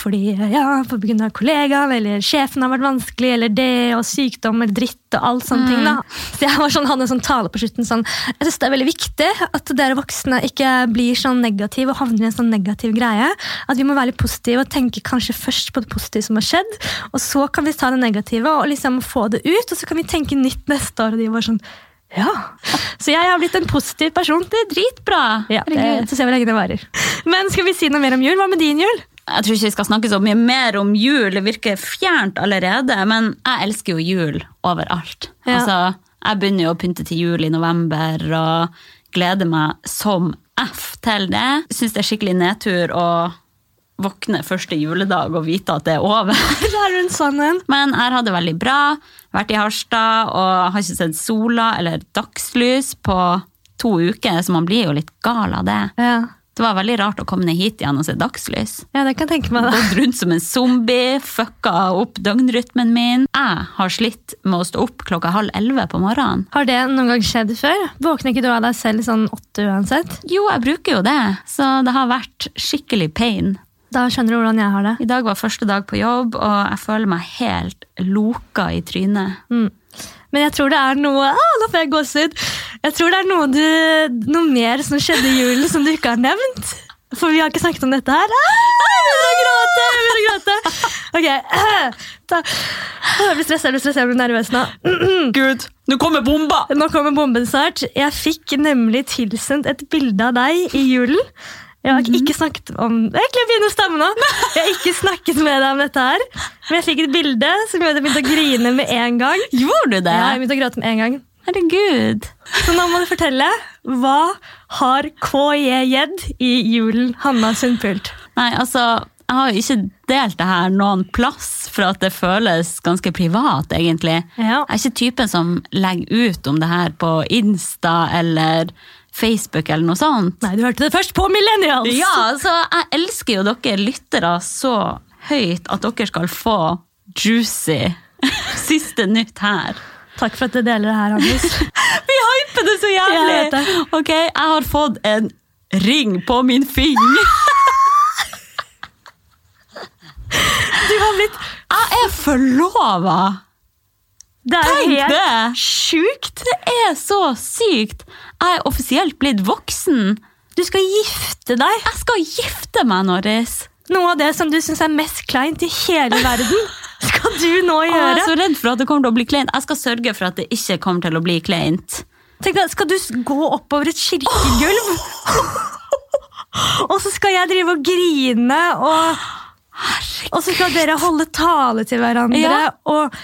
Speaker 1: fordi ja, på grunn av kollegaen, eller sjefen har vært vanskelig, eller det, og sykdom, eller dritt, og alt sånne ting, da. Så jeg var sånn, hadde en sånn tale på slutten, sånn, jeg synes det er veldig viktig at dere voksne ikke blir sånn negative, og havner i en sånn negativ greie, at vi må være litt positive, og tenke kanskje først på det positive som har skjedd, og så kan vi ta det negative, og liksom få det ut, og så kan vi tenke nytt neste år, og de var sånn, ja. Så jeg har blitt en positiv person.
Speaker 2: Det er dritbra.
Speaker 1: Ja,
Speaker 2: Herregud.
Speaker 1: det, så ser vi hvor lenge det varer. Men skal vi si noe mer om jul? Hva med din jul?
Speaker 2: Jeg tror ikke vi skal snakke så mye mer om jul, det virker fjernt allerede, men jeg elsker jo jul overalt.
Speaker 1: Ja.
Speaker 2: Altså, jeg begynner jo å pynte til jul i november, og gleder meg som F til det. Synes det er skikkelig nedtur å våkne første juledag og vite at det er over.
Speaker 1: Der hun sånn en.
Speaker 2: Men jeg har det veldig bra, vært i Harstad, og har ikke sett sola eller dagslys på to uker, så man blir jo litt gal av det.
Speaker 1: Ja.
Speaker 2: Det var veldig rart å komme ned hit igjen og se dagslys.
Speaker 1: ja, det kan jeg tenke meg. da.
Speaker 2: Gått rundt som en zombie, fucka opp døgnrytmen min. Jeg har slitt med å stå opp klokka halv elleve på morgenen.
Speaker 1: Har det noen gang skjedd før? Våkner ikke du av deg selv sånn åtte uansett?
Speaker 2: Jo, jeg bruker jo det, så det har vært skikkelig pain.
Speaker 1: Da skjønner du hvordan jeg har det.
Speaker 2: I dag var første dag på jobb, og jeg føler meg helt loka i trynet.
Speaker 1: Mm. Men jeg tror det er noe ah, Nå får jeg gåsehud! Jeg tror det er noe, du, noe mer som skjedde i julen som du ikke har nevnt. For vi har ikke snakket om dette her. Ah, jeg begynner å gråte! Jeg begynner å gråte. Ok. Da. Åh, Jeg blir stressa, jeg blir stressa, jeg blir nervøs nå.
Speaker 2: Gud, nå kommer bomba!
Speaker 1: Nå kommer bomben snart. Jeg fikk nemlig tilsendt et bilde av deg i julen. Jeg har ikke snakket om Egentlig begynner å stamme nå. Jeg har ikke snakket med deg om dette her. Men jeg fikk et bilde som gjorde at jeg begynte å grine med en gang.
Speaker 2: Gjorde du det?
Speaker 1: Ja, jeg begynte å gråte med en gang.
Speaker 2: Herregud.
Speaker 1: Så nå må du fortelle. Hva har KJ-Jed i julen, Hanna Sundpult?
Speaker 2: Nei, altså, jeg har jo ikke delt det her noen plass, for at det føles ganske privat, egentlig.
Speaker 1: Ja.
Speaker 2: Jeg er ikke typen som legger ut om det her på Insta eller Facebook eller noe sånt.
Speaker 1: Nei, du hørte det først på Millennials!
Speaker 2: Ja, altså, jeg elsker jo dere lyttere så høyt at dere skal få juicy siste nytt her.
Speaker 1: Takk for at du deler det her, Agnes.
Speaker 2: Vi hyper det så
Speaker 1: Ja,
Speaker 2: jævlig!
Speaker 1: jeg vet det.
Speaker 2: ok, jeg har fått en ring på min finger.
Speaker 1: Du har blitt
Speaker 2: Jeg er forlova!
Speaker 1: Det er
Speaker 2: Tenk
Speaker 1: helt
Speaker 2: det!
Speaker 1: sjukt!
Speaker 2: Det er så sykt! Jeg er offisielt blitt voksen.
Speaker 1: Du skal gifte deg!
Speaker 2: Jeg skal gifte meg, Norris.
Speaker 1: Noe av det som du syns er mest kleint i hele verden, skal du nå
Speaker 2: Å, Ah, Jeg
Speaker 1: gjøre.
Speaker 2: er så redd for at det kommer til å bli kleint. Jeg skal sørge for at det ikke kommer til å bli kleint.
Speaker 1: Tenk deg, Skal du s- gå oppover et kirkegulv? og så skal jeg drive og grine, og, og så skal dere holde tale til hverandre.
Speaker 2: Ja.
Speaker 1: Og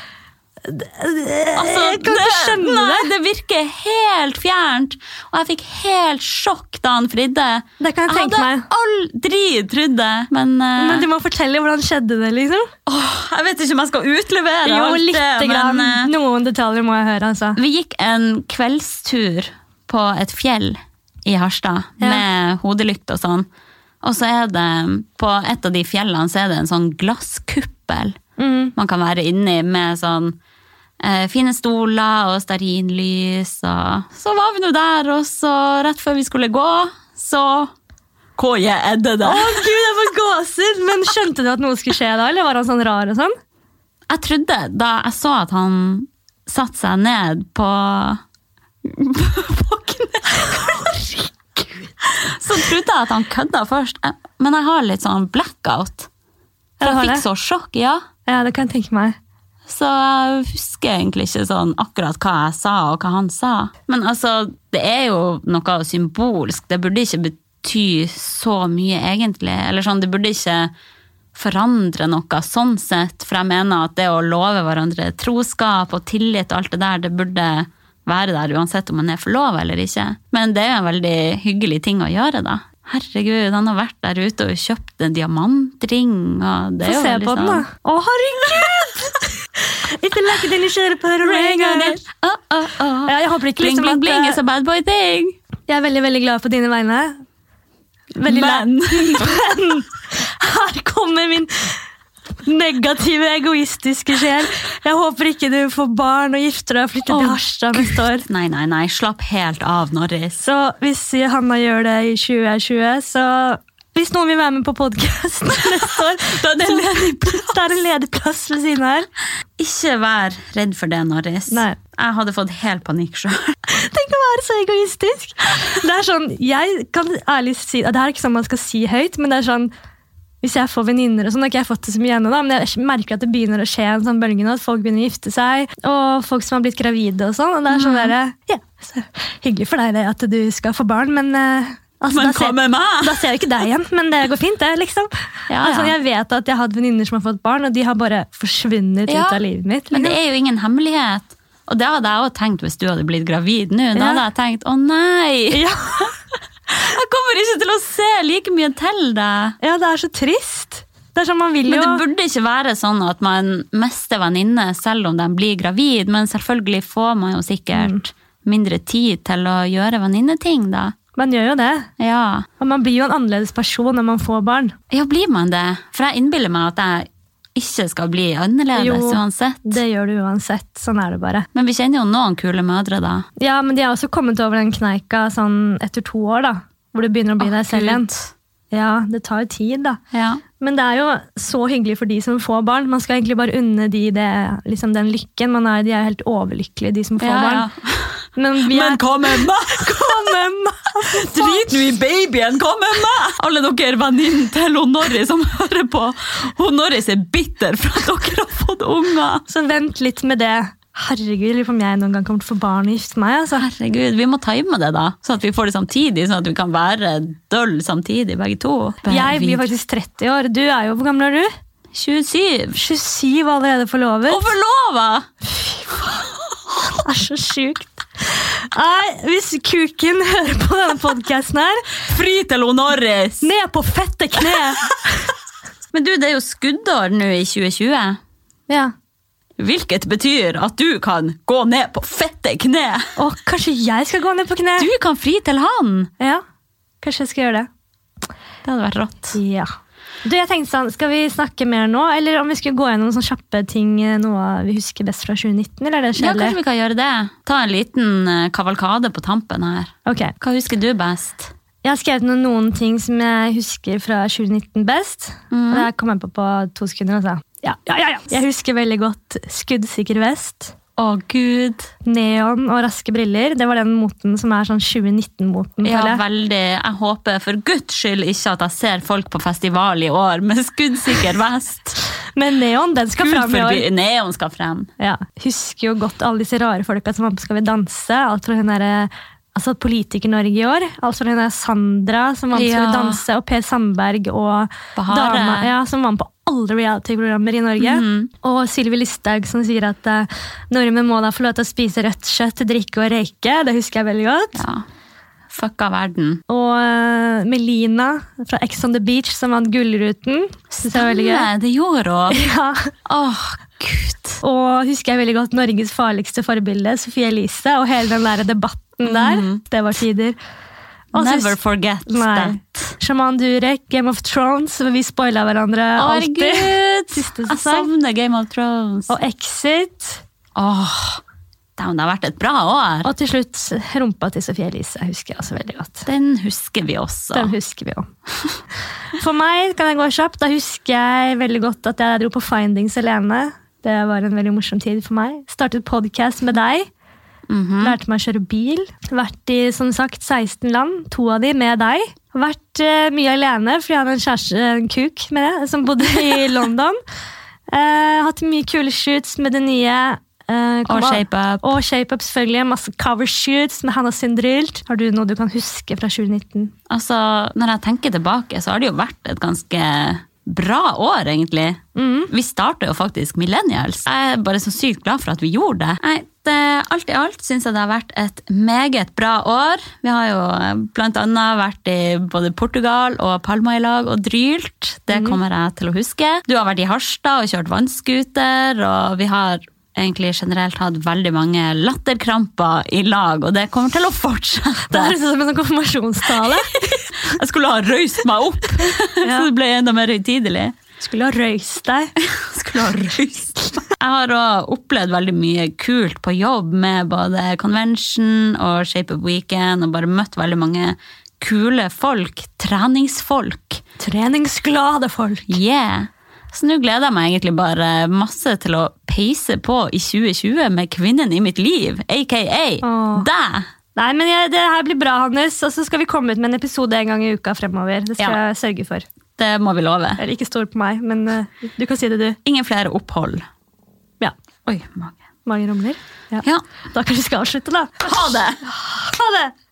Speaker 2: Altså,
Speaker 1: Jeg kan ikke skjønne
Speaker 2: nei, det virker helt fjernt. Og jeg fikk helt sjokk da han fridde.
Speaker 1: Det kan jeg tenke meg.
Speaker 2: hadde aldri trodd det, men, eh,
Speaker 1: Men du må fortelle hvordan skjedde det liksom?
Speaker 2: åh, Jeg vet ikke om jeg skal utlevere
Speaker 1: Jo,
Speaker 2: alt
Speaker 1: litt.
Speaker 2: det, men,
Speaker 1: grann.
Speaker 2: eh,
Speaker 1: Noen detaljer må jeg høre. altså.
Speaker 2: Vi gikk en kveldstur på et fjell i Harstad
Speaker 1: Ja.
Speaker 2: med hodelykt og sånn. Og så er det, på et av de fjellene så er det en sånn glasskuppel
Speaker 1: Mm.
Speaker 2: man kan være inni med sånn eh, fine stoler og stearinlys og Så var vi nå der, og så rett før vi skulle gå, så KJ Edde
Speaker 1: Å
Speaker 2: der.
Speaker 1: gud, jeg får gåsehud! Men skjønte du at noe skulle skje da? Eller var han sånn rar og sånn?
Speaker 2: Jeg trodde, da jeg så at han satte seg ned på på kne Så trodde jeg at han kødda først, Eh, men jeg har litt sånn blackout. For
Speaker 1: Ja, du
Speaker 2: jeg
Speaker 1: har
Speaker 2: fikk så sjokk, ja.
Speaker 1: Ja, det kan jeg tenke meg.
Speaker 2: Så jeg husker egentlig ikke sånn akkurat hva jeg sa, og hva han sa. Men altså, det er jo noe symbolsk. Det burde ikke bety så mye, egentlig. Eller sånn, det burde ikke forandre noe sånn sett. For jeg mener at det å love hverandre troskap og tillit og alt det der, det burde være der uansett om man er forlova eller ikke. Men det er jo en veldig hyggelig ting å gjøre, da. Herregud, han har vært der ute og kjøpt en diamantring. Og det er
Speaker 1: Få
Speaker 2: jo
Speaker 1: se
Speaker 2: veldig
Speaker 1: på den,
Speaker 2: sånn-
Speaker 1: da. Å, herregud! Ikke like din kjære på ringen.
Speaker 2: Oh, oh, oh.
Speaker 1: Ja, jeg håper ikke
Speaker 2: Bling,
Speaker 1: liksom
Speaker 2: bling,
Speaker 1: at
Speaker 2: bling is
Speaker 1: eh,
Speaker 2: a bad boy thing.
Speaker 1: Jeg er veldig, veldig glad på dine vegne. Veldig
Speaker 2: Men
Speaker 1: lei- Men her kommer min Negative, egoistiske sjel. Jeg håper ikke du får barn og gifter deg og flytter til
Speaker 2: Å,
Speaker 1: Harstad neste år.
Speaker 2: Nei, nei, nei. Slapp helt av, Norris.
Speaker 1: Så hvis Hanna gjør det i 2020, så hvis noen vil være med på podkast neste år,
Speaker 2: Da er det
Speaker 1: så- Da er det ledig plass ved siden her.
Speaker 2: Ikke vær redd for det, Norris.
Speaker 1: Nei.
Speaker 2: Jeg hadde fått helt panikk sjøl.
Speaker 1: Tenk å være så egoistisk! Det er sånn, jeg kan ærlig si, Det er ikke sånn man skal si høyt, men det er sånn hvis jeg får venninner og sånn, har ikke jeg fått det så mye ennå, da, men jeg merker at det begynner å skje en sånn bølge nå, at folk begynner å gifte seg, og folk som har blitt gravide og sånn. og det er
Speaker 2: Mm.
Speaker 1: sånn der, ja, så Hyggelig for deg det, at du skal få barn, men eh, altså,
Speaker 2: Men
Speaker 1: da
Speaker 2: hva
Speaker 1: ser-
Speaker 2: med meg?
Speaker 1: da ser jeg ikke deg igjen, men det går fint, det. liksom.
Speaker 2: Ja, ja.
Speaker 1: Altså, jeg vet at jeg har hatt venninner som har fått barn, og de har bare forsvunnet
Speaker 2: Ja,
Speaker 1: ut av livet mitt.
Speaker 2: Men det
Speaker 1: liksom.
Speaker 2: er jo ingen hemmelighet. Og det hadde jeg òg tenkt hvis du hadde blitt gravid nå. Da
Speaker 1: Ja.
Speaker 2: hadde jeg tenkt å nei,
Speaker 1: Ja,
Speaker 2: jeg kommer ikke til å se like mye til deg.
Speaker 1: ja, det er så trist. Det er sånn man vil
Speaker 2: Men
Speaker 1: jo
Speaker 2: det burde ikke være sånn at man mister venninner selv om de blir gravid, men selvfølgelig får man jo sikkert mindre tid til å gjøre venninneting, da.
Speaker 1: Man gjør jo det.
Speaker 2: Ja.
Speaker 1: Og man blir jo en annerledes person når man får barn.
Speaker 2: Ja, blir man det? For jeg innbiller meg at jeg ikke skal bli annerledes
Speaker 1: Jo.
Speaker 2: uansett.
Speaker 1: Det gjør du uansett. Sånn er det bare.
Speaker 2: Men vi kjenner jo noen kule mødre, da.
Speaker 1: Ja, men de har også kommet over den kneika sånn etter to år, da. Hvor du begynner å bli
Speaker 2: Å,
Speaker 1: deg selv igjen. Ja, det tar jo tid, da.
Speaker 2: Ja.
Speaker 1: Men det er jo så hyggelig for de som får barn. Man skal egentlig bare unne de det, liksom den lykken. Man er, de er helt overlykkelige, de som får
Speaker 2: Ja,
Speaker 1: barn.
Speaker 2: ja.
Speaker 1: Men vi er
Speaker 2: hva med meg?! Drit nå i babyen, hva med meg?! Alle dere venninnene til hun Norris som hører på. Hun Norris er bitter for at dere har fått unger.
Speaker 1: Så vent litt med det. Herregud, lurer på om jeg noen gang kommer til å få barn og gifte meg. altså.
Speaker 2: Herregud, vi må time det, da. Sånn at vi får det samtidig, sånn at vi kan være døll samtidig, begge to.
Speaker 1: Jeg blir faktisk 30 år. Du er jo, Hvor gammel er du?
Speaker 2: 27.
Speaker 1: 27 og allerede forlovet.
Speaker 2: Og forlova!
Speaker 1: Det er så sjukt. Nei, hvis kuken hører på denne podkasten her,
Speaker 2: Fri til hun Norris!
Speaker 1: ned på fette kne!
Speaker 2: Men du, det er jo skuddår nå i 2020.
Speaker 1: Ja.
Speaker 2: Hvilket betyr at du kan gå ned på fette kne.
Speaker 1: Og kanskje jeg skal gå ned på kne?
Speaker 2: Du kan fri til han.
Speaker 1: Ja, Kanskje jeg skal gjøre det.
Speaker 2: Det hadde vært rått.
Speaker 1: Ja. Du, jeg tenkte sånn, Skal vi snakke mer nå, eller om vi skulle gå gjennom sånne kjappe ting eh, noe vi husker best fra 2019? eller er det
Speaker 2: Ja, kanskje
Speaker 1: kjedelig?
Speaker 2: vi kan gjøre det. Ta en liten eh, kavalkade på tampen her.
Speaker 1: Ok,
Speaker 2: Hva husker du best?
Speaker 1: Jeg har skrevet ned noen ting som jeg husker fra 2019 best.
Speaker 2: Mhm.
Speaker 1: Og det her kom jeg på på to sekunder. Altså. Ja, ja, ja, ja. Jeg husker veldig godt skuddsikker vest.
Speaker 2: Å, gud.
Speaker 1: Neon og raske briller. Det var den moten som er sånn 2019-moten.
Speaker 2: Ja,
Speaker 1: føler jeg.
Speaker 2: veldig. Jeg håper for guds skyld ikke at jeg ser folk på festival i år med skuddsikker vest.
Speaker 1: Men neon, den skal
Speaker 2: Gud
Speaker 1: fram i år.
Speaker 2: forby. Neon skal frem.
Speaker 1: Ja. Husker jo godt alle disse rare folka som var på Skal vi danse. Alt fra hun derre altså Politiker-Norge i år. Alt fra hun der Sandra som var på Skal
Speaker 2: Ja.
Speaker 1: vi danse, og Per Sandberg og
Speaker 2: Bahare.
Speaker 1: dama ja, som var med på alle reality-programmer i Norge.
Speaker 2: Mhm.
Speaker 1: Og Sylvi Listhaug som sier at eh, nordmenn må da få lov til å spise rødt kjøtt, drikke og røyke. Det husker jeg veldig godt.
Speaker 2: Ja. Fucka verden.
Speaker 1: Og eh, Melina fra Ex on the Beach som vant Gullruten. Synes jeg var veldig gøy.
Speaker 2: Stemme, det gjorde hun.
Speaker 1: Ja.
Speaker 2: Åh, gud.
Speaker 1: Og husker jeg veldig godt Norges farligste forbilde, Sophie Elise, og hele den der
Speaker 2: Mhm.
Speaker 1: debatten der. Det var tider. Og så
Speaker 2: Never
Speaker 1: hus-
Speaker 2: forget
Speaker 1: Nei.
Speaker 2: that.
Speaker 1: Sjaman Durek, Game of Thrones, hvor vi spoila hverandre
Speaker 2: Å,
Speaker 1: alltid.
Speaker 2: Herregud!
Speaker 1: Siste
Speaker 2: Jeg
Speaker 1: sesong.
Speaker 2: savner Game of Thrones.
Speaker 1: Og Exit.
Speaker 2: Åh, damn, det har vært et bra år.
Speaker 1: Og til slutt rumpa til Sophie Elise, husker jeg også veldig godt.
Speaker 2: Den husker vi også.
Speaker 1: Den husker vi jo. For meg kan jeg gå kjapt. Da husker jeg veldig godt at jeg dro på Findings alene. Det var en veldig morsom tid for meg. Startet podkast med deg. Lærte meg å kjøre bil. Vært i som sagt 16 land, to av de med deg. Vært eh, mye alene, fordi jeg hadde en kjæreste, en kuk, med det, som bodde i London. Eh, hatt mye kule shoots med det nye. eh,
Speaker 2: Og
Speaker 1: kom-
Speaker 2: shape-up.
Speaker 1: Og shape-up, selvfølgelig. Masse cover shoots med Hannah Sindrilt. Har du noe du kan huske fra 2019?
Speaker 2: Altså, når jeg tenker tilbake, så har det jo vært et ganske bra år, egentlig. Vi startet jo faktisk Millennials. Jeg er bare så sykt glad for at vi gjorde det. Nei, det alt i alt syns jeg det har vært et meget bra år. Vi har jo eh, blant annet vært i både Portugal og Palma i lag og drylt. Det kommer jeg til å huske. Du har vært i Harstad og kjørt vannskuter, og vi har egentlig generelt hatt veldig mange latterkramper i lag, og det kommer til å
Speaker 1: Det
Speaker 2: fortsette.
Speaker 1: høres ut som en sånn konfirmasjonstale.
Speaker 2: Jeg skulle ha røyst meg opp, så det ble enda mer høytidelig.
Speaker 1: Skulle ha røyst deg.
Speaker 2: Skulle ha røyst. Jeg har òg opplevd veldig mye kult på jobb med både convention og Shape Up Weekend, og bare møtt veldig mange kule folk. Treningsfolk.
Speaker 1: Treningsglade folk.
Speaker 2: Yeah! Så nå gleder jeg meg egentlig bare masse til å peise på i 2020 med kvinnen i mitt liv, aka
Speaker 1: Åh.
Speaker 2: deg!
Speaker 1: Nei, men jeg, Det her blir bra, Hannes. Og så skal vi komme ut med en episode en gang i uka fremover. Det skal
Speaker 2: Ja.
Speaker 1: jeg sørge for.
Speaker 2: Det må vi love.
Speaker 1: Eller ikke stol på meg, men eh, du kan si det, du.
Speaker 2: Ingen flere opphold.
Speaker 1: Ja.
Speaker 2: Oi, mage.
Speaker 1: Mange rumler. Ja.
Speaker 2: Ja.
Speaker 1: Da kanskje vi skal avslutte, da.
Speaker 2: Ha det!
Speaker 1: Ha det!